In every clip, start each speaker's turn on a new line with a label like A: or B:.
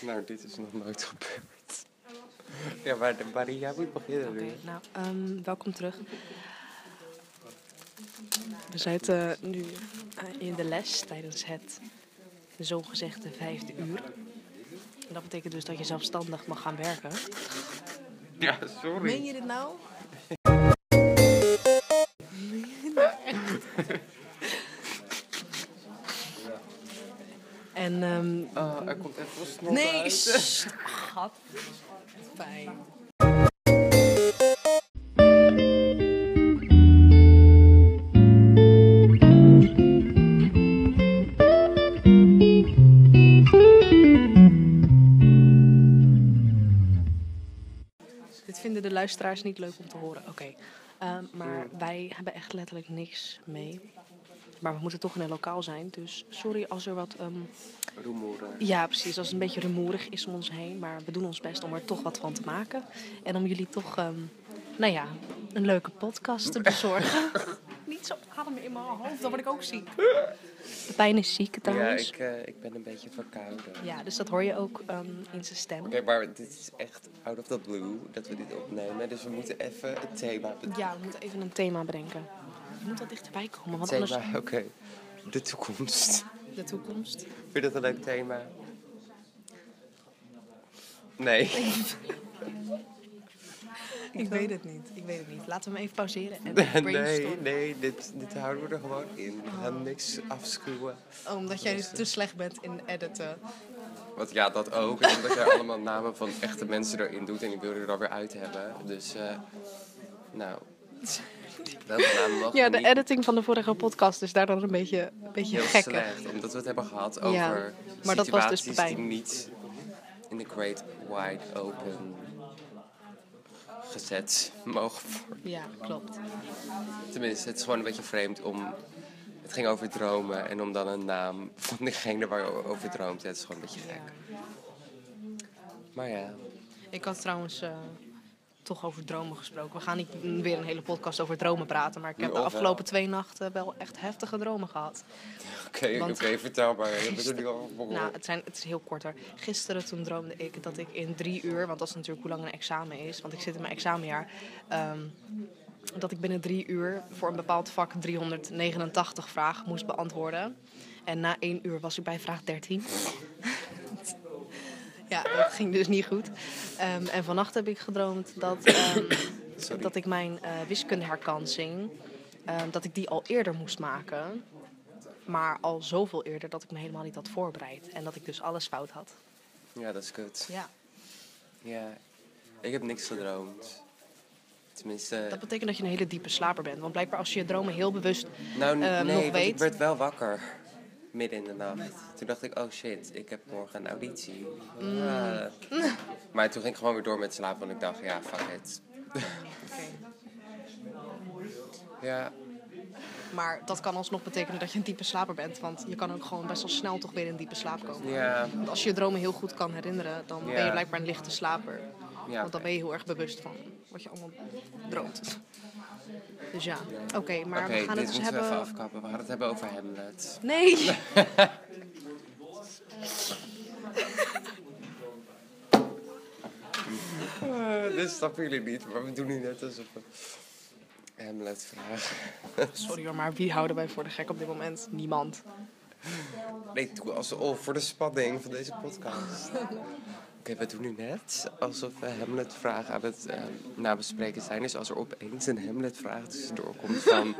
A: Nou, dit is nog nooit gebeurd. Ja, maar de Maria moet beginnen
B: Oké,
A: nu.
B: nou, ehm, welkom terug. We zitten nu eh, in de les tijdens het zogezegde vijfde uur. En dat betekent dus dat je zelfstandig mag gaan werken.
A: Ja, sorry.
B: je dit nou? En ehm,
A: Ah, er komt echt wel snor
B: Nee,
A: uit.
B: sst, gat. Fijn. Dit vinden de luisteraars niet leuk om te horen. Oké. Ehm, maar wij hebben echt letterlijk niks mee. Maar we moeten toch in een lokaal zijn. Dus sorry als er wat ehm,
A: Rumoeren.
B: ja, precies. Als het een beetje rumoerig is om ons heen. Maar we doen ons best om er toch wat van te maken. En om jullie toch, ehm, nou ja, een leuke podcast te bezorgen. Niet zo ademen in mijn hoofd, dan word ik ook ziek. De pijn is ziek
A: Ja,
B: trouwens.
A: ik, eh, ik ben een beetje verkouden. Oké,
B: Ja, dus dat hoor je ook ehm, in zijn stem.
A: maar dit is echt out of the blue dat we dit opnemen. Dus we moeten even het thema bedenken.
B: Ja, we moeten even een thema bedenken. Je moet wat dichterbij komen, want anders...
A: Thema, oké. De toekomst.
B: De toekomst.
A: Vind je dat een leuk thema? Nee.
B: Ik weet het niet, ik weet het niet. Laten we hem even pauzeren en
A: Nee, nee, dit, dit houden we er gewoon in. We gaan niks afschuwen.
B: Omdat jij dus te slecht bent in editen.
A: Want ja, dat ook. En omdat jij allemaal namen van echte mensen erin doet en ik wil er dan weer uit hebben. Dus, eh nou. Welke naam mag
B: Ja,
A: er
B: de
A: niet?
B: editing van de vorige podcast is daar dan een beetje, een beetje
A: Heel
B: gekker.
A: slecht, omdat we het hebben gehad over
B: Ja, maar dat was
A: situaties
B: dus
A: die
B: pijn.
A: niet in de great wide open gezet mogen worden.
B: Ja, klopt.
A: Tenminste, het is gewoon een beetje vreemd om... Het ging over dromen en om dan een naam van degene waar je over droomt. Het is gewoon een beetje gek. Maar ja,
B: Ik had trouwens eh, toch over dromen gesproken. We gaan niet mm, weer een hele podcast over dromen praten. Maar ik heb
A: Nu
B: de
A: al wel.
B: afgelopen twee nachten wel echt heftige dromen gehad.
A: oké, oké,
B: Want
A: vertel maar. Je bent er nu al begonnen.
B: Nou, het, zijn, het is heel korter. Gisteren toen droomde ik dat ik in drie uur, want dat is natuurlijk hoe lang een examen is, want ik zit in mijn examenjaar, ehm, dat ik binnen drie uur voor een bepaald vak 389 vragen moest beantwoorden. En na één uur was ik bij vraag 13. ja, dat ging dus niet goed. Ehm, en vannacht heb ik gedroomd dat, ehm,
A: Sorry.
B: dat ik mijn eh wiskundeherkansing, ehm, dat ik die al eerder moest maken. Maar al zoveel eerder dat ik me helemaal niet had voorbereid. En dat ik dus alles fout had.
A: Ja, dat is kut.
B: Ja.
A: Ja, ik heb niks gedroomd. Tenminste,
B: Dat betekent dat je een hele diepe slaper bent. Want blijkbaar als je je dromen heel bewust...
A: nou
B: eh,
A: nee,
B: nog
A: want ik
B: weet-
A: werd wel wakker. Midden in de nacht. Toen dacht ik, oh shit, ik heb morgen een auditie.
B: Mm.
A: Ah. Maar toen ging ik gewoon weer door met slapen, want ik dacht, ja, fuck it. Ja,
B: Maar dat kan alsnog betekenen dat je een diepe slaper bent. Want je kan ook gewoon best wel snel toch weer in diepe slaap komen.
A: ja,
B: Want als je je dromen heel goed kan herinneren, dan ben
A: Ja.
B: je blijkbaar een lichte slaper.
A: ja.
B: Want dan ben je heel erg bewust van wat je allemaal droomt. Dus ja, oké. maar
A: Oké,
B: we gaan
A: dit
B: het dus
A: moeten we even
B: hebben...
A: afkappen. We gaan het hebben over Hamlet.
B: Nee!
A: Eh, dit snappen jullie niet, maar we doen nu net alsof we Hamlet vragen.
B: Sorry hoor, maar wie houden wij voor de gek op dit moment? Niemand.
A: Nee, doe alsof voor de spanning van deze podcast. Oké, we doen nu net alsof we Hamlet-vragen aan het eh, nabespreken zijn. Dus als er opeens een Hamlet-vraag tussendoor komt van...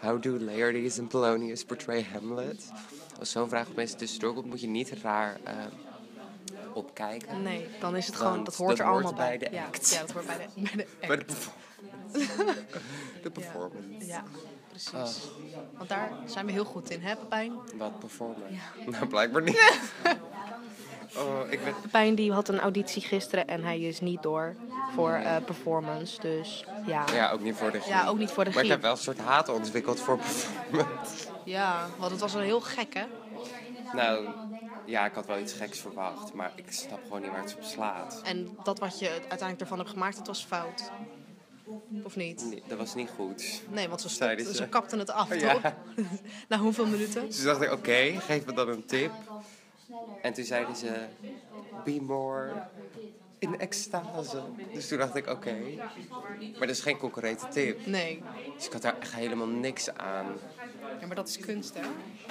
A: How do Laertes en Polonius portray Hamlet? Als zo'n vraag opeens tussendoor komt, moet je niet raar eh, opkijken.
B: Nee, dan is het
A: Want
B: gewoon, dat hoort
A: dat
B: er
A: hoort
B: allemaal bij.
A: bij de
B: ja,
A: act.
B: ja, dat hoort bij de, bij de act.
A: Bij de performance. de performance. Ah.
B: Ja, precies. Want daar zijn we heel goed in, hè Pepijn?
A: Wat performance? Nou, blijkbaar niet. oh, ik ben...
B: Pepijn die had een auditie gisteren en hij is niet door voor eh, performance. Dus ja.
A: Ja, ook niet voor de
B: Ja, ook niet voor de
A: Maar ik
B: Griek.
A: heb wel een soort haat ontwikkeld voor performance.
B: Ja, want het was wel heel gek, hè?
A: Nou, ja, ik had wel iets geks verwacht, maar ik snap gewoon niet waar het op slaat.
B: En dat wat je uiteindelijk ervan hebt gemaakt, dat was fout. Of niet?
A: Nee, dat was niet goed.
B: Nee, want ze,
A: Zeiden
B: stopten,
A: ze.
B: ze kapten het af,
A: eh, Ja.
B: toch? Na hoeveel minuten?
A: Dus toen dacht ik, oké, geef me dan een tip. En toen zeiden ze, be more in extase. Dus toen dacht ik, oké. Maar dat is geen concrete tip.
B: Nee.
A: Dus ik had daar echt helemaal niks aan.
B: Ja, maar dat is kunst, hè?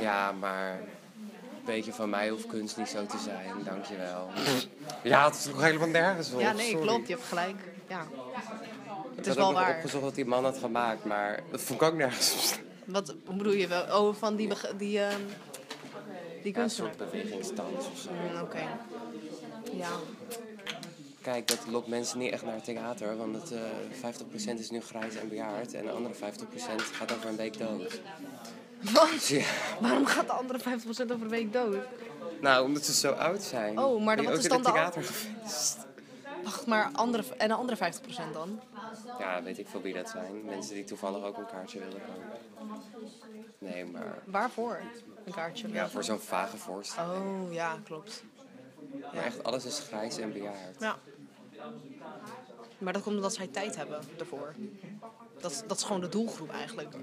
A: Ja, maar een beetje van mij hoeft kunst niet zo te zijn, dankjewel. Ja, het is nog helemaal nergens op.
B: Ja, nee,
A: Oh, sorry.
B: klopt. Je hebt gelijk. Ja. Het is
A: ik had
B: wel
A: ook nog
B: waar.
A: opgezocht wat die man had gemaakt, maar dat vond ik ook nergens op staan.
B: Wat hoe bedoel je wel? Oh, van die, beg- die, ehm, die
A: Ja, een
B: kunstenaar.
A: soort bewegingstans of zo.
B: Mm, Oké. Ja.
A: Kijk, dat lokt mensen niet echt naar het theater, want het, eh 50% is nu grijs en bejaard en de andere 50% gaat over een week dood.
B: Wat?
A: Ja.
B: Waarom gaat de andere 50% over een week dood?
A: Nou, omdat ze zo oud zijn.
B: Oh, maar
A: Die
B: wat
A: ook
B: is
A: in
B: dan
A: het
B: de
A: theater.
B: Wacht, maar andere, en de andere 50% dan?
A: Ja, weet ik veel wie dat zijn. Mensen die toevallig ook een kaartje willen kopen. Nee, maar
B: Waarvoor? Een kaartje.
A: ja, voor zo'n vage voorstelling.
B: Oh, ja, klopt.
A: Maar echt, alles is grijs en bejaard.
B: Ja. Maar dat komt omdat zij tijd hebben ervoor. Dat, is- dat is gewoon de doelgroep eigenlijk.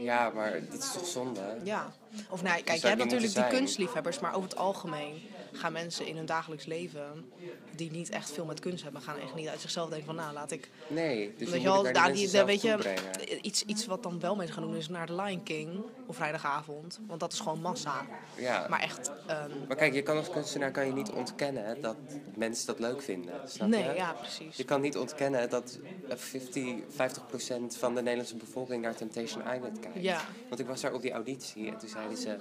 A: Ja, maar dat is toch zonde?
B: Ja. Of nou, ja,
A: zou
B: kijk, je hebt
A: niet
B: natuurlijk die
A: moeten zijn.
B: kunstliefhebbers, maar over het algemeen gaan mensen in hun dagelijks leven die niet echt veel met kunst hebben, gaan echt niet uit zichzelf denken van, nou, laat ik
A: Nee, dus je
B: Weet
A: moet
B: je wel,
A: het naar
B: daar
A: die
B: die,
A: mensen
B: daar
A: zelf
B: weet je, eh,
A: toebrengen.
B: iets, iets wat dan wel mensen gaan doen is naar de Lion King op vrijdagavond. Want dat is gewoon massa.
A: Ja.
B: Maar echt, ehm,
A: Maar kijk, je kan als kunstenaar kan je niet ontkennen dat mensen dat leuk vinden. Snap
B: nee,
A: je?
B: ja, precies.
A: Je kan niet ontkennen dat eh, 50, 50% van de Nederlandse bevolking naar Temptation Island kijkt.
B: Ja.
A: Want ik was daar op die auditie en toen zeiden ze...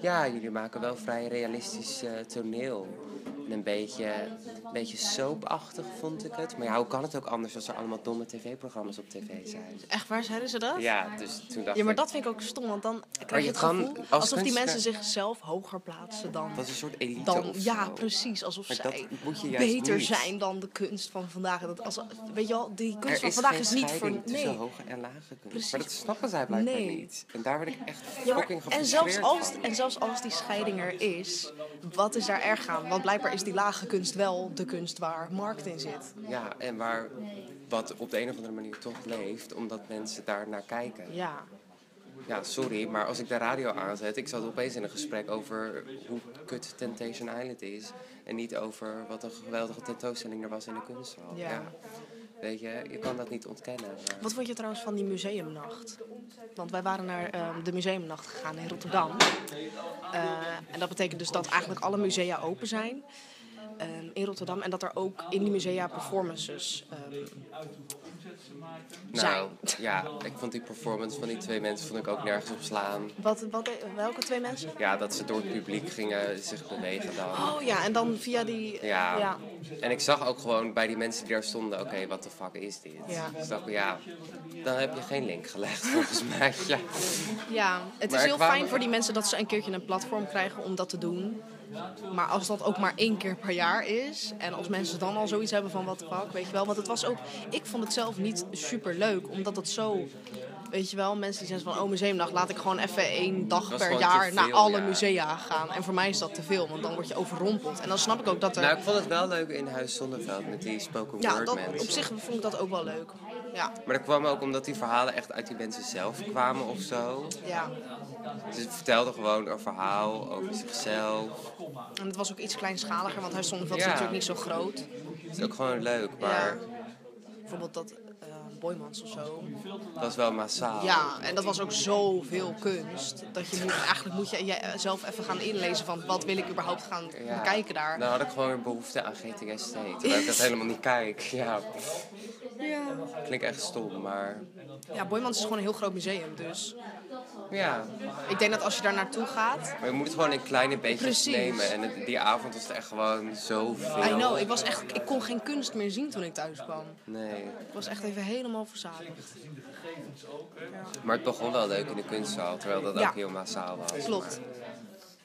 A: Ja, jullie maken wel vrij realistisch eh, toneel. En een beetje, een beetje soapachtig vond ik het. Maar ja, hoe kan het ook anders als er allemaal domme tv-programma's op tv zijn?
B: Echt, waar zeiden ze dat?
A: Ja, dus toen dacht
B: Ja, maar
A: ik...
B: dat vind ik ook stom, want dan
A: Maar
B: krijg
A: je
B: je het
A: kan
B: gevoel
A: als
B: alsof die
A: kunstenaar-
B: mensen zichzelf hoger plaatsen dan...
A: Dat is een soort elite
B: dan
A: of zo.
B: ja, precies. Alsof
A: Maar
B: zij
A: dat moet je juist
B: beter
A: niet.
B: zijn dan de kunst van vandaag. En Dat als, weet je wel, die kunst
A: Er
B: van
A: is
B: vandaag
A: geen
B: is niet voor...
A: scheiding tussen
B: Nee.
A: hoge en lage kunst.
B: Precies.
A: Maar dat snappen zij blijkbaar
B: Nee.
A: niet. En daar werd ik echt
B: Ja, maar-
A: fucking gefrustreerd
B: en, zelfs als,
A: van.
B: en zelfs als die scheiding er is, wat is daar erg aan? Want blijkbaar is die lage kunst wel de kunst waar markt in zit.
A: Ja, en waar wat op de een of andere manier toch leeft, omdat mensen daar naar kijken.
B: Ja,
A: Ja, sorry, maar als ik de radio aanzet, ik zat opeens in een gesprek over hoe kut Temptation Island is. En niet over wat een geweldige tentoonstelling er was in de kunsthal.
B: Ja.
A: Ja. Weet je, je kan dat niet ontkennen. maar-
B: Wat vond je trouwens van die museumnacht? Want wij waren naar ehm, de museumnacht gegaan in Rotterdam. Eh, en dat betekent dus dat eigenlijk alle musea open zijn ehm, in Rotterdam. En dat er ook in die musea performances ehm,
A: nou,
B: zijn.
A: ja, ik vond die performance van die twee mensen vond ik ook nergens op slaan.
B: Wat, wat, welke twee mensen?
A: Ja, dat ze door het publiek gingen zich bewegen dan.
B: Oh ja, en dan via die...
A: Ja.
B: ja.
A: En ik zag ook gewoon bij die mensen die daar stonden, oké, wat de fuck is dit?
B: Ja.
A: Dus ik dacht, ja, dan heb je geen link gelegd volgens mij. Ja.
B: Ja, het
A: Maar
B: is
A: er
B: heel
A: kwamen-
B: fijn voor die mensen dat ze een keertje een platform krijgen om dat te doen. Maar als dat ook maar één keer per jaar is en als mensen dan al zoiets hebben van wat fuck, weet je wel. Want het was ook, ik vond het zelf niet super leuk, omdat dat zo, weet je wel, mensen die zeggen van oh museumdag, laat ik gewoon even één dag
A: was
B: per
A: gewoon
B: jaar
A: te
B: naar
A: veel,
B: alle
A: ja.
B: musea gaan. En voor mij is dat te veel, want dan word je overrompeld. En dan snap ik ook dat er,
A: Nou, ik vond het wel leuk in Huis Zonneveld met die spoken
B: ja,
A: word
B: dat,
A: mensen.
B: op zich vond ik dat ook wel leuk. Ja,
A: Maar dat kwam ook omdat die verhalen echt uit die mensen zelf kwamen of zo.
B: ja.
A: Ze vertelden gewoon een verhaal over zichzelf.
B: En het was ook iets kleinschaliger, want Huis Zonneveld is
A: Ja.
B: natuurlijk niet zo groot.
A: Het is ook gewoon leuk, maar
B: Bijvoorbeeld dat eh Boymans of zo.
A: dat was wel massaal.
B: Ja, en dat was ook zoveel kunst. Dat je moet, eigenlijk moet je jezelf even gaan inlezen van wat wil ik überhaupt gaan
A: Ja.
B: kijken daar.
A: Nou had ik gewoon weer behoefte aan GTST, terwijl ik dat helemaal niet kijk. Ja,
B: Ja.
A: klinkt echt stom, maar
B: ja, Boymans is gewoon een heel groot museum. Dus
A: ja.
B: ik denk dat als je daar naartoe gaat.
A: Maar je moet het gewoon in kleine beetjes
B: Precies.
A: nemen. En het- die avond was het echt gewoon zoveel.
B: I know, ik, was echt, ik kon geen kunst meer zien toen ik thuis kwam.
A: Nee.
B: Ik was echt even helemaal verzadigd.
A: Maar het begon wel leuk in de kunstzaal, terwijl dat
B: Ja.
A: ook heel massaal was.
B: Klopt.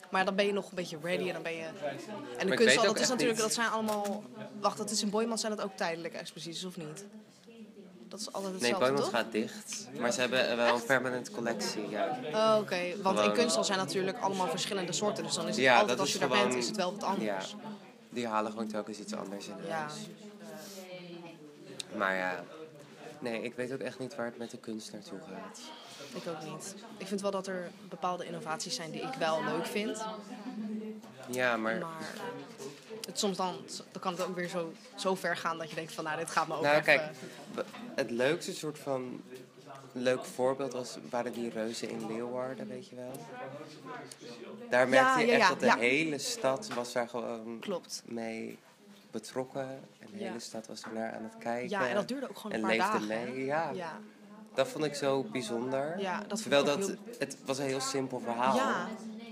B: Maar dan ben je nog een beetje ready en dan ben je... En de
A: weet
B: kunst,
A: ook
B: dat is
A: echt
B: natuurlijk,
A: niet.
B: dat zijn allemaal... Wacht, dat is in Boymans zijn dat ook tijdelijke exposities, of niet? Dat is altijd
A: Nee,
B: hetzelfde,
A: Boymans
B: toch?
A: gaat dicht. Maar ze hebben eh, wel een permanent collectie. Ja,
B: Oh, Oké, want in
A: Gewoon- eh,
B: kunsthal zijn natuurlijk allemaal verschillende soorten. Dus dan is het
A: ja
B: altijd
A: dat
B: als
A: is
B: je
A: gewoon...
B: daar bent, is het wel wat anders.
A: Ja. Die halen gewoon telkens iets anders in
B: Ja.
A: huis. Maar ja... Nee, ik weet ook echt niet waar het met de kunst naartoe gaat.
B: ik ook niet. Ik vind wel dat er bepaalde innovaties zijn die ik wel leuk vind.
A: Ja, maar...
B: Maar het het soms dan, dan kan het ook weer zo, zo ver gaan dat je denkt van nou, dit gaat me ook
A: Nou,
B: even...
A: kijk, w- het leukste soort van leuk voorbeeld was, waren die reuzen in Leeuwarden, weet je wel. Daar merkte je
B: ja,
A: echt
B: ja,
A: dat de
B: ja.
A: hele stad was daar gewoon
B: Klopt.
A: mee betrokken. En de
B: Ja.
A: hele stad was er naar aan het kijken.
B: Ja, en dat duurde ook gewoon een
A: en
B: paar
A: leefde
B: dagen, hè?
A: mee. Ja.
B: Ja.
A: dat vond ik zo bijzonder.
B: Ja, dat vond
A: Terwijl
B: ik ook
A: dat, het was een heel simpel verhaal.
B: Ja.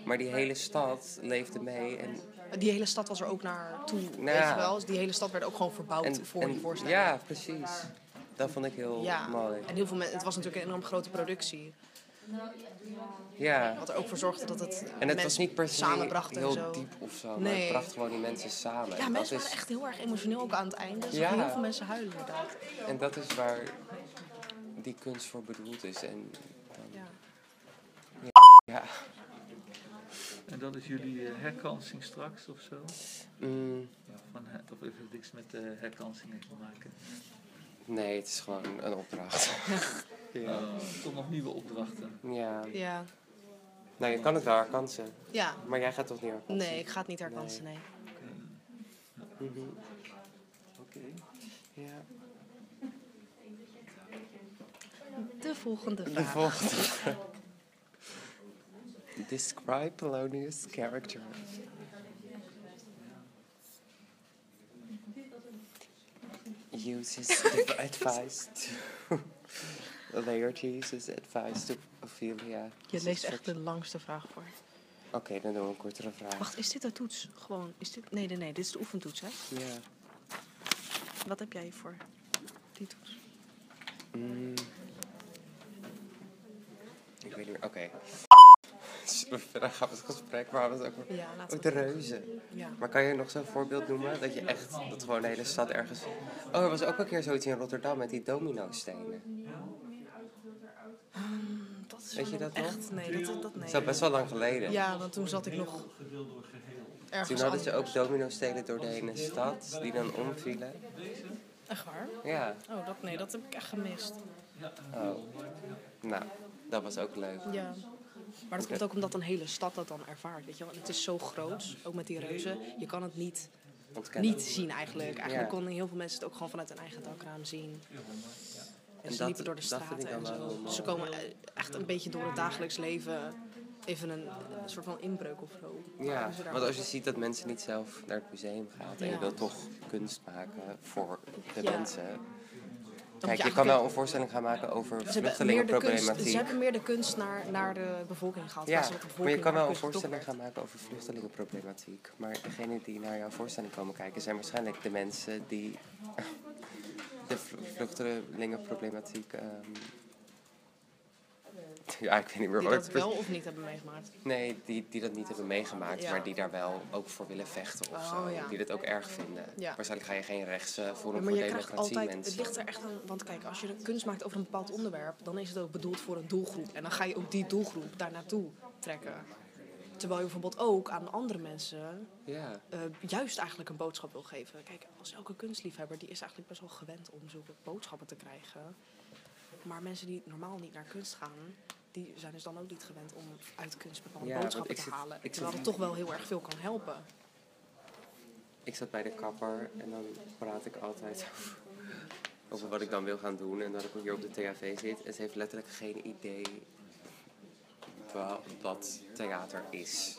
A: Maar die hele stad leefde mee. En,
B: Die hele stad was er ook naartoe, weet je
A: Nou Ja.
B: wel. Dus die hele stad werd ook gewoon verbouwd
A: en,
B: voor
A: en-
B: die voorstelling.
A: ja, precies. Dat vond ik heel
B: Ja.
A: mooi.
B: En heel veel mensen, het was natuurlijk een enorm grote productie.
A: Ja.
B: Wat er ook voor zorgde dat het
A: En het
B: mensen
A: was niet per se
B: samenbracht en
A: heel
B: zo.
A: diep of zo, maar
B: Nee.
A: het bracht gewoon die mensen samen.
B: Ja,
A: en, dat
B: mensen
A: is,
B: waren echt heel erg emotioneel ook aan het einde. Dus
A: Ja.
B: heel veel mensen huilen inderdaad.
A: en dat is waar die kunst voor bedoeld is. En dan,
B: Ja.
A: ja,
C: En dat is jullie eh, herkansing straks of zo?
A: mm,
C: Ja, van, he- of heeft het niks met eh herkansingen te maken?
A: nee, het is gewoon een opdracht. ja.
C: Eh, Er komt nog nieuwe opdrachten.
A: ja.
B: Ja.
A: Nou, je kan het wel herkansen.
B: ja.
A: Maar jij gaat toch niet herkansen?
B: Nee, ik ga het niet herkansen, nee.
C: Oké.
A: Mhm.
C: Oké.
A: Ja.
B: De volgende
A: De
B: vraag.
A: volgende. Describe Polonius' character. Use his div- advice to Laertes, his advice to Ophelia.
B: Je leest echt de langste vraag voor.
A: Oké, dan doen we een kortere vraag.
B: Wacht, is dit de toets? Gewoon, is dit... Nee, nee, nee, dit is de oefentoets, hè?
A: Ja.
B: Wat heb jij voor die toets?
A: Mm. Ik weet niet meer. Oké. Verder gaan we het gesprek, maar we het ook over-
B: Ja, laten
A: ook
B: we
A: de
B: het doen.
A: reuzen.
B: Ja.
A: Maar kan je nog zo'n voorbeeld noemen? Dat je echt, dat gewoon de hele stad ergens... Oh, er was ook een keer zoiets in Rotterdam met die domino-stenen.
B: Ehm, Dat is
A: Weet je
B: wel
A: dat nog?
B: echt... Nee, dat, dat
A: Dat
B: nee.
A: is al best wel lang geleden.
B: Ja, want toen zat ik nog ergens
A: Toen hadden ze
B: anders.
A: ook domino-stenen door de hele stad, die dan omvielen.
B: Echt waar?
A: Ja,
B: Oh, dat, nee, dat heb ik echt gemist.
A: oh. Nou, dat was ook leuk.
B: Ja. Maar dat komt ook omdat een hele stad dat dan ervaart, weet je wel. En het is zo groot, ook met die reuzen. Je kan het niet,
A: Ontkennen.
B: niet zien eigenlijk. Eigenlijk
A: Ja.
B: konden heel veel mensen het ook gewoon vanuit hun eigen dakraam zien. En
A: En
B: ze
A: dat-
B: liepen door de
A: dat vind
B: straten
A: ik
B: en
A: dan wel
B: zo.
A: heel mooi.
B: Ze komen eh, echt een beetje door het dagelijks leven even een, een soort van inbreuk of zo.
A: Ja,
B: Hoe ze daar-
A: want als je ziet dat mensen niet zelf naar het museum gaan en
B: Ja.
A: je wil toch kunst maken voor de
B: Ja.
A: mensen.
B: Dan moet
A: Kijk, je kan
B: eigenlijk-
A: wel een voorstelling gaan maken over
B: Ze hebben, meer de kunst, ze
A: vluchtelingenproblematiek.
B: hebben meer de kunst naar, naar de bevolking gehad.
A: Ja,
B: waar ze met de
A: maar je
B: bevolking Dus
A: kan wel een
B: aan kunst
A: voorstelling gaan
B: getrokken
A: maken over vluchtelingenproblematiek. Maar degenen die naar jouw voorstelling komen kijken zijn waarschijnlijk de mensen die de vl- vluchtelingenproblematiek. ehm, ja, ik weet niet meer
B: werd. Die
A: wat
B: dat
A: ik
B: wel of niet hebben meegemaakt.
A: Nee, die, die dat niet hebben meegemaakt,
B: Ja.
A: maar die daar wel ook voor willen vechten of
B: Oh,
A: zo.
B: ja.
A: Die dat ook erg vinden.
B: Ja.
A: Waarschijnlijk ga je geen rechts eh,
B: Ja,
A: Forum
B: maar
A: voor
B: je krijgt
A: Democratie
B: altijd, het
A: mensen.
B: ligt er echt aan, want kijk, als je de kunst maakt over een bepaald onderwerp, dan is het ook bedoeld voor een doelgroep. En dan ga je ook die doelgroep daar naartoe trekken. Terwijl je bijvoorbeeld ook aan andere mensen
A: Ja,
B: eh, juist eigenlijk een boodschap wil geven. Kijk, als elke kunstliefhebber, die is eigenlijk best wel gewend om zulke boodschappen te krijgen. Maar mensen die normaal niet naar kunst gaan, die zijn dus dan ook niet gewend om uit kunst bepaalde
A: Ja, want
B: boodschappen
A: ik
B: te
A: zit-
B: halen.
A: ik
B: terwijl het
A: zit-
B: toch wel heel erg veel kan helpen.
A: ik zat bij de kapper en dan praat ik altijd over, over wat ik dan wil gaan doen. En dat ik hier op de THV zit. En ze heeft letterlijk geen idee wa- wat theater is.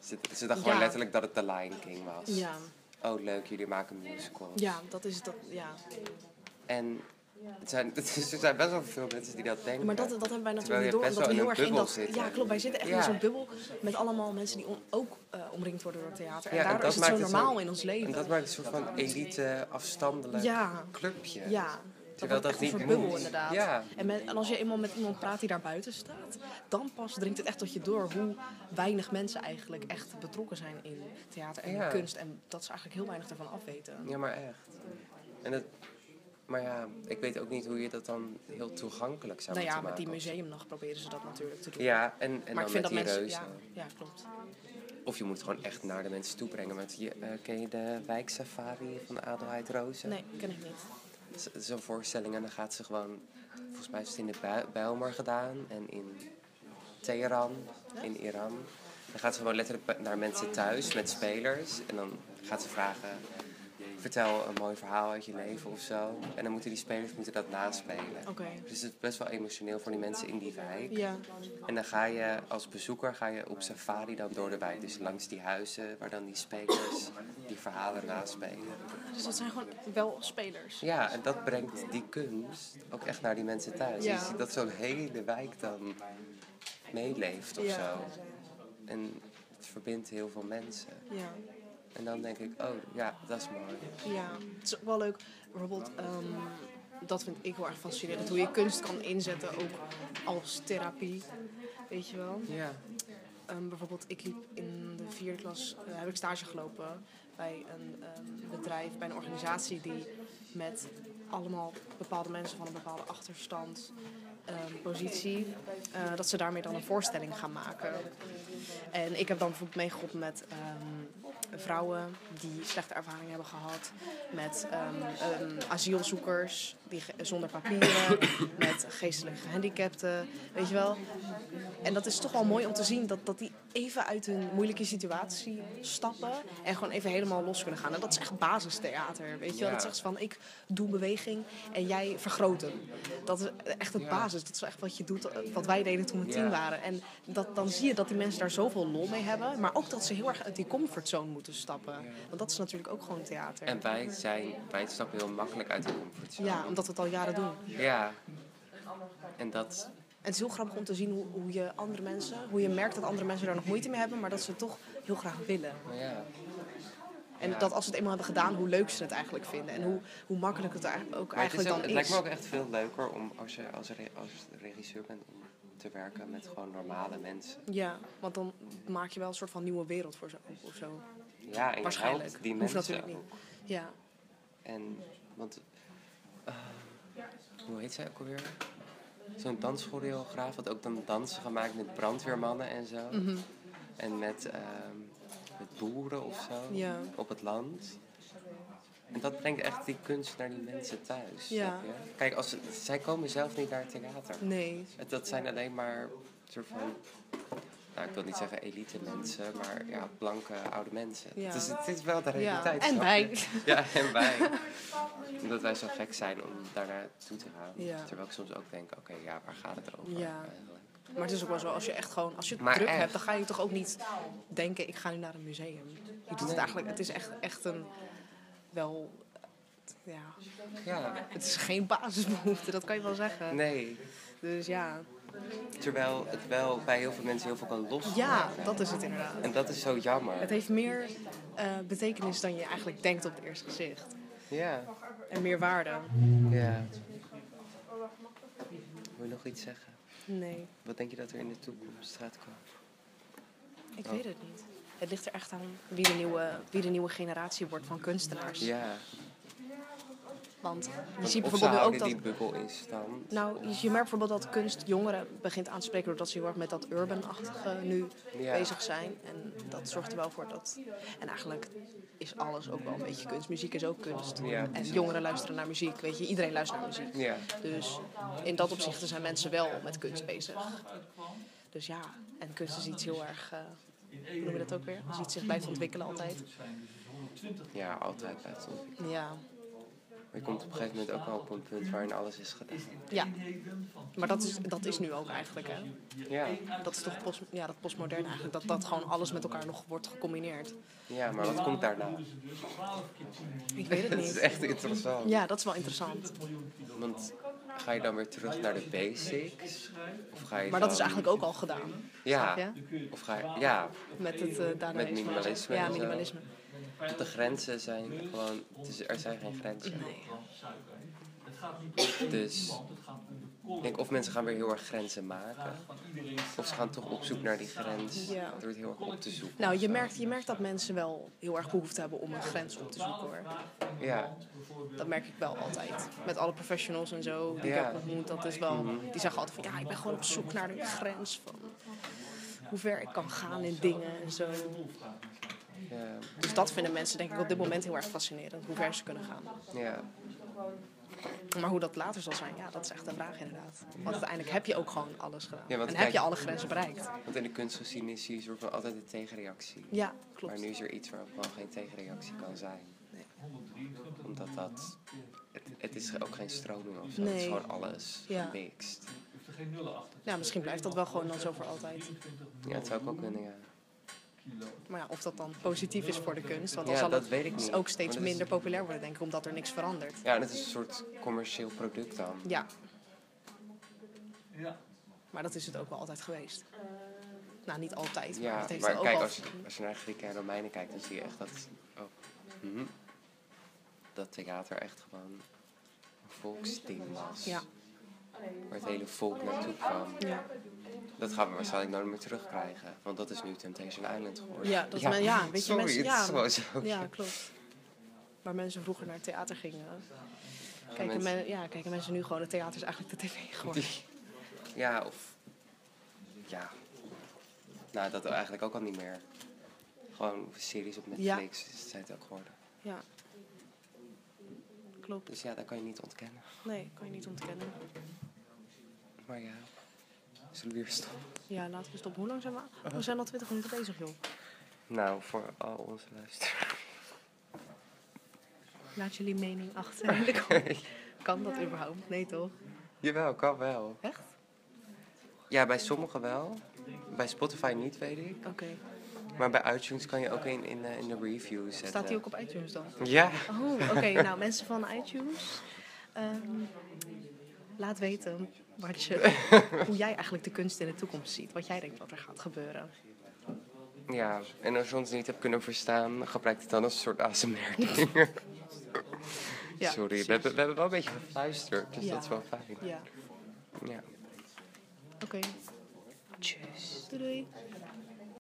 A: Ze, ze dacht
B: Ja.
A: gewoon letterlijk dat het The Lion King was.
B: Ja,
A: Oh leuk, jullie maken musicals.
B: ja dat is dat. Ja.
A: En het zijn, er zijn best wel veel mensen die dat denken.
B: Maar dat, dat hebben wij
A: Terwijl
B: natuurlijk
A: je
B: niet door,
A: best
B: omdat we
A: wel in
B: heel erg
A: een
B: in dat...
A: bubbel zit,
B: Ja,
A: hè?
B: klopt. Wij zitten echt in
A: Ja.
B: zo'n bubbel met allemaal mensen die om- ook eh, omringd worden door theater. En
A: Ja, en
B: daardoor
A: dat
B: is het zo
A: maakt het zo-
B: normaal in ons leven.
A: En dat maakt een soort van elite, afstandelijk
B: Ja.
A: clubje.
B: Ja.
A: Terwijl
B: wordt
A: dat
B: echt een
A: niet
B: soort bubbel
A: moet.
B: inderdaad.
A: Ja.
B: En, met- en als je eenmaal met iemand praat die daar buiten staat, dan pas dringt het echt tot je door hoe weinig mensen eigenlijk echt betrokken zijn in theater en in
A: Ja.
B: kunst. En dat ze eigenlijk heel weinig ervan afweten.
A: Ja, maar echt. En dat, maar ja, ik weet ook niet hoe je dat dan heel toegankelijk zou
B: Nou ja,
A: moeten
B: met
A: maken.
B: die museumnacht proberen ze dat natuurlijk te doen.
A: Ja, en, en
B: maar
A: dan
B: ik vind
A: met
B: dat
A: die
B: mensen.
A: reuzen.
B: Ja, ja, klopt.
A: Of je moet het gewoon echt naar de mensen toe brengen. Met, je, eh, ken je de wijksafari van Adelheid Rozen?
B: Nee, ken ik niet.
A: Z- Zo'n voorstelling en dan gaat ze gewoon... Volgens mij is het in de Bijlmer gedaan en in Teheran, in Iran. Dan gaat ze gewoon letterlijk pe- naar mensen thuis met spelers. En dan gaat ze vragen, vertel een mooi verhaal uit je leven of zo. En dan moeten die spelers moeten dat naspelen.
B: Oké.
A: Dus het is best wel emotioneel voor die mensen in die wijk.
B: Ja.
A: En dan ga je als bezoeker ga je op safari dan door de wijk. Dus langs die huizen waar dan die spelers die verhalen naspelen.
B: Dus dat zijn gewoon wel spelers.
A: Ja, en dat brengt die kunst ook echt naar die mensen thuis.
B: Ja.
A: Je ziet dat zo'n hele wijk dan meeleeft of
B: Ja.
A: zo. En het verbindt heel veel mensen.
B: Ja.
A: En dan denk ik, oh ja, dat is mooi.
B: Ja, het is ook wel leuk. Bijvoorbeeld, ehm, dat vind ik heel erg fascinerend. Hoe je kunst kan inzetten, ook als therapie. Weet je wel.
A: Ja.
B: Ehm, bijvoorbeeld, ik liep in de vierde klas, eh, heb ik stage gelopen bij een ehm, bedrijf, bij een organisatie die met allemaal bepaalde mensen van een bepaalde achterstand, ehm, positie, eh, dat ze daarmee dan een voorstelling gaan maken. En ik heb dan bijvoorbeeld meegeholpen met ehm, vrouwen die slechte ervaringen hebben gehad, met ehm, ehm, asielzoekers die ge- zonder papieren, met geestelijke gehandicapten, weet je wel. En dat is toch wel mooi om te zien dat, dat die even uit hun moeilijke situatie stappen en gewoon even helemaal los kunnen gaan. En dat is echt basistheater, weet je wel.
A: Ja.
B: Dat zegt van ik doe beweging en jij vergroot hem. Dat is echt het
A: Ja.
B: basis. Dat is echt wat je doet, eh, wat wij deden toen we tien
A: Ja.
B: waren. En dat, dan zie je dat die mensen daar zoveel lol mee hebben. Maar ook dat ze heel erg uit die comfortzone moeten stappen. Want dat is natuurlijk ook gewoon theater.
A: En wij zijn, wij stappen heel makkelijk uit de comfortzone.
B: ja, omdat we het al jaren doen.
A: Ja. En dat,
B: En het is heel grappig om te zien hoe, hoe je andere mensen, hoe je merkt dat andere mensen daar nog moeite mee hebben, maar dat ze het toch heel graag willen.
A: nou ja.
B: En
A: Ja.
B: dat als ze het eenmaal hebben gedaan, hoe leuk ze het eigenlijk vinden. En hoe, hoe makkelijk het eigenlijk ook
A: Maar het, is
B: eigenlijk
A: ook-
B: dan
A: het lijkt
B: is.
A: me ook echt veel leuker om als je als, re- als regisseur bent om te werken met gewoon normale mensen.
B: Ja, want dan maak je wel een soort van nieuwe wereld voor ze of zo.
A: Ja, en je
B: Waarschijnlijk.
A: helpt die
B: Hoeft
A: mensen
B: natuurlijk
A: ook.
B: niet. Ja.
A: En, want, eh, hoe heet zij ook alweer? Zo'n danschoreograaf had ook dan dansen gemaakt met brandweermannen en zo.
B: Mhm.
A: En met, ehm, met boeren of zo,
B: Ja.
A: op het land. En dat brengt echt die kunst naar die mensen thuis.
B: Ja.
A: snap je? Kijk, als, ze- zij komen zelf niet naar het theater.
B: Nee.
A: Het- Dat zijn alleen maar soort van, nou ik wil niet zeggen elite mensen, maar ja, blanke oude mensen.
B: Ja.
A: Dus het is wel de realiteit.
B: En
A: snap je?
B: wij.
A: Ja, en wij. Omdat wij zo gek zijn om daar naartoe te gaan.
B: Ja.
A: Terwijl ik soms ook denk, oké, ja, waar gaat het over
B: Ja.
A: eigenlijk?
B: Maar het is ook wel zo, als je echt gewoon, als je het
A: Maar
B: druk
A: echt.
B: hebt, dan ga je toch ook niet denken, ik ga nu naar een museum. Je doet het eigenlijk, het is echt, echt een, wel, ja,
A: Ja,
B: het is geen basisbehoefte, dat kan je wel zeggen.
A: nee.
B: Dus ja,
A: Terwijl het wel bij heel veel mensen heel veel kan loslaten.
B: ja, dat is het inderdaad.
A: En dat is zo
B: Het
A: jammer.
B: heeft meer eh, betekenis dan je eigenlijk denkt op het eerste gezicht.
A: Ja,
B: En meer waarde.
A: ja. Wil je nog iets zeggen?
B: Nee,
A: Wat denk je dat er in de toekomst gaat komen? Oh.
B: ik weet het niet. Het ligt er echt aan wie de nieuwe, wie de nieuwe generatie wordt van kunstenaars.
A: Ja,
B: Want je
A: want
B: ziet
A: of ze
B: bijvoorbeeld nu ook
A: houden
B: dat...
A: die bubbel in stand.
B: Nou, je- je merkt bijvoorbeeld dat kunst jongeren begint aan te spreken doordat ze heel erg met dat urban-achtige nu
A: Ja.
B: bezig zijn. En dat zorgt er wel voor dat. En eigenlijk is alles ook wel een beetje kunst. Muziek is ook kunst.
A: Ja,
B: en
A: precies.
B: jongeren luisteren naar muziek. Weet je, iedereen luistert naar muziek.
A: Ja.
B: Dus in dat opzicht zijn mensen wel met kunst bezig. Dus ja, en kunst is iets heel erg. eh, hoe noem je dat ook weer? Als iets zich blijft ontwikkelen altijd.
A: ja, altijd blijft het ontwikkelen.
B: Ja.
A: Maar je komt op een gegeven moment ook wel op een punt waarin alles is gedaan.
B: ja. Maar dat is, dat is nu ook eigenlijk, hè?
A: Ja.
B: Dat is toch post, ja, dat postmodern eigenlijk, dat dat gewoon alles met elkaar nog wordt gecombineerd.
A: Ja, maar wat komt daarna?
B: Ik weet het
A: Het is
B: niet.
A: echt interessant.
B: Ja, dat is wel interessant.
A: Want ga je dan weer terug naar de basics? Of ga je
B: Maar dat is
A: dan-
B: eigenlijk ook al gedaan.
A: Ja.
B: Ja?
A: Of ga je... Ja,
B: Met het eh
A: met
B: dadaïsme.
A: minimalisme. en
B: Ja,
A: zo.
B: minimalisme.
A: Want de grenzen zijn gewoon... Dus er zijn geen grenzen.
B: Nee.
A: Dus ik denk of mensen gaan weer heel erg grenzen maken. Of ze gaan toch op zoek naar die grens.
B: Ja.
A: Door het heel erg op te zoeken.
B: Nou, je merkt, je merkt dat mensen wel heel erg behoefte hebben om een grens op te zoeken hoor.
A: Ja.
B: Dat merk ik wel altijd. Met alle professionals en zo die
A: Ja. Mhm.
B: ik heb ontmoet, dat is wel. Die zeggen altijd van ja, ik ben gewoon op zoek naar de grens van hoe ver ik kan gaan in dingen en zo.
A: ja.
B: Dus dat vinden mensen denk ik op dit moment heel erg fascinerend, hoe ver ze kunnen gaan.
A: Ja.
B: Maar hoe dat later zal zijn, ja, dat is echt een vraag inderdaad. Want uiteindelijk heb je ook gewoon alles gedaan.
A: Ja, want
B: en
A: kijk-
B: heb je alle grenzen bereikt.
A: Want in de kunstgezien is hier soort van altijd een tegenreactie.
B: Ja,
A: Maar nu
B: klopt.
A: is er iets waarop gewoon geen tegenreactie kan zijn. Omdat dat... Het, het is ook geen stroming of zo. Het is
B: Nee.
A: gewoon alles
B: Ja.
A: gemixt.
B: Ja, misschien blijft dat wel gewoon dan zo voor altijd.
A: Ja, het zou ik ook kunnen, ja.
B: Maar ja, of dat dan positief is voor de kunst. Want dan
A: Ja,
B: zal
A: dat
B: het
A: weet ik niet.
B: ook steeds
A: Maar dat is-
B: minder populair worden, denk ik, omdat er niks verandert.
A: Ja, dat is een soort commercieel product dan.
B: Ja,
C: Ja.
B: maar dat is het ook wel altijd geweest. Nou, niet altijd, maar
A: Ja,
B: het heeft
A: maar
B: wel
A: kijk,
B: ook
A: als je,
B: al...
A: als je naar Grieken en Romeinen kijkt, dan zie je echt dat... Oh, mhm. dat theater echt gewoon een volksding was.
B: Ja.
A: Waar het hele volk naartoe kwam.
B: Ja.
A: Dat gaan we waarschijnlijk nooit meer terugkrijgen. Want dat is nu Temptation Island geworden.
B: Ja, dat men- ja, weet je,
A: sorry,
B: mensen-
A: het
B: ja.
A: is gewoon zo.
B: Ja, klopt. Waar mensen vroeger naar het theater gingen. Kijken,
A: mensen-
B: men- ja, kijken mensen nu gewoon, het theater is eigenlijk de tv geworden.
A: Ja, of... Ja. Nou, dat eigenlijk ook al niet meer. Gewoon series op Netflix zijn het ook geworden.
B: Ja. Klopt.
A: Dus ja, dat kan je niet ontkennen.
B: Nee, kan je niet ontkennen.
A: Maar ja, zullen we weer stoppen?
B: Ja, laten we stoppen. Hoe lang zijn we? Oh, We zijn al 20 minuten bezig, joh.
A: Nou, voor al onze luisteraars.
B: Laat jullie mening achter. in de comments. kan dat überhaupt? Nee, toch?
A: Jawel, kan wel.
B: Echt?
A: Ja, bij sommigen wel. Bij Spotify niet, weet ik.
B: Oké.
A: Maar bij iTunes kan je ook in, in, de, in de review zetten.
B: Staat die ook op iTunes dan?
A: Ja.
B: Oh, oké. nou, mensen van iTunes. ehm, laat weten wat je, hoe jij eigenlijk de kunst in de toekomst ziet. Wat jij denkt wat er gaat gebeuren.
A: Ja, en als je ons niet hebt kunnen verstaan, gebruik het dan als een soort ASMR-ding.
B: Ja,
A: Sorry,
B: precies.
A: we hebben, we hebben wel een beetje gefluisterd, dus
B: Ja.
A: dat is wel fijn.
B: Ja,
A: Ja.
B: oké. Tjus. Doei doei.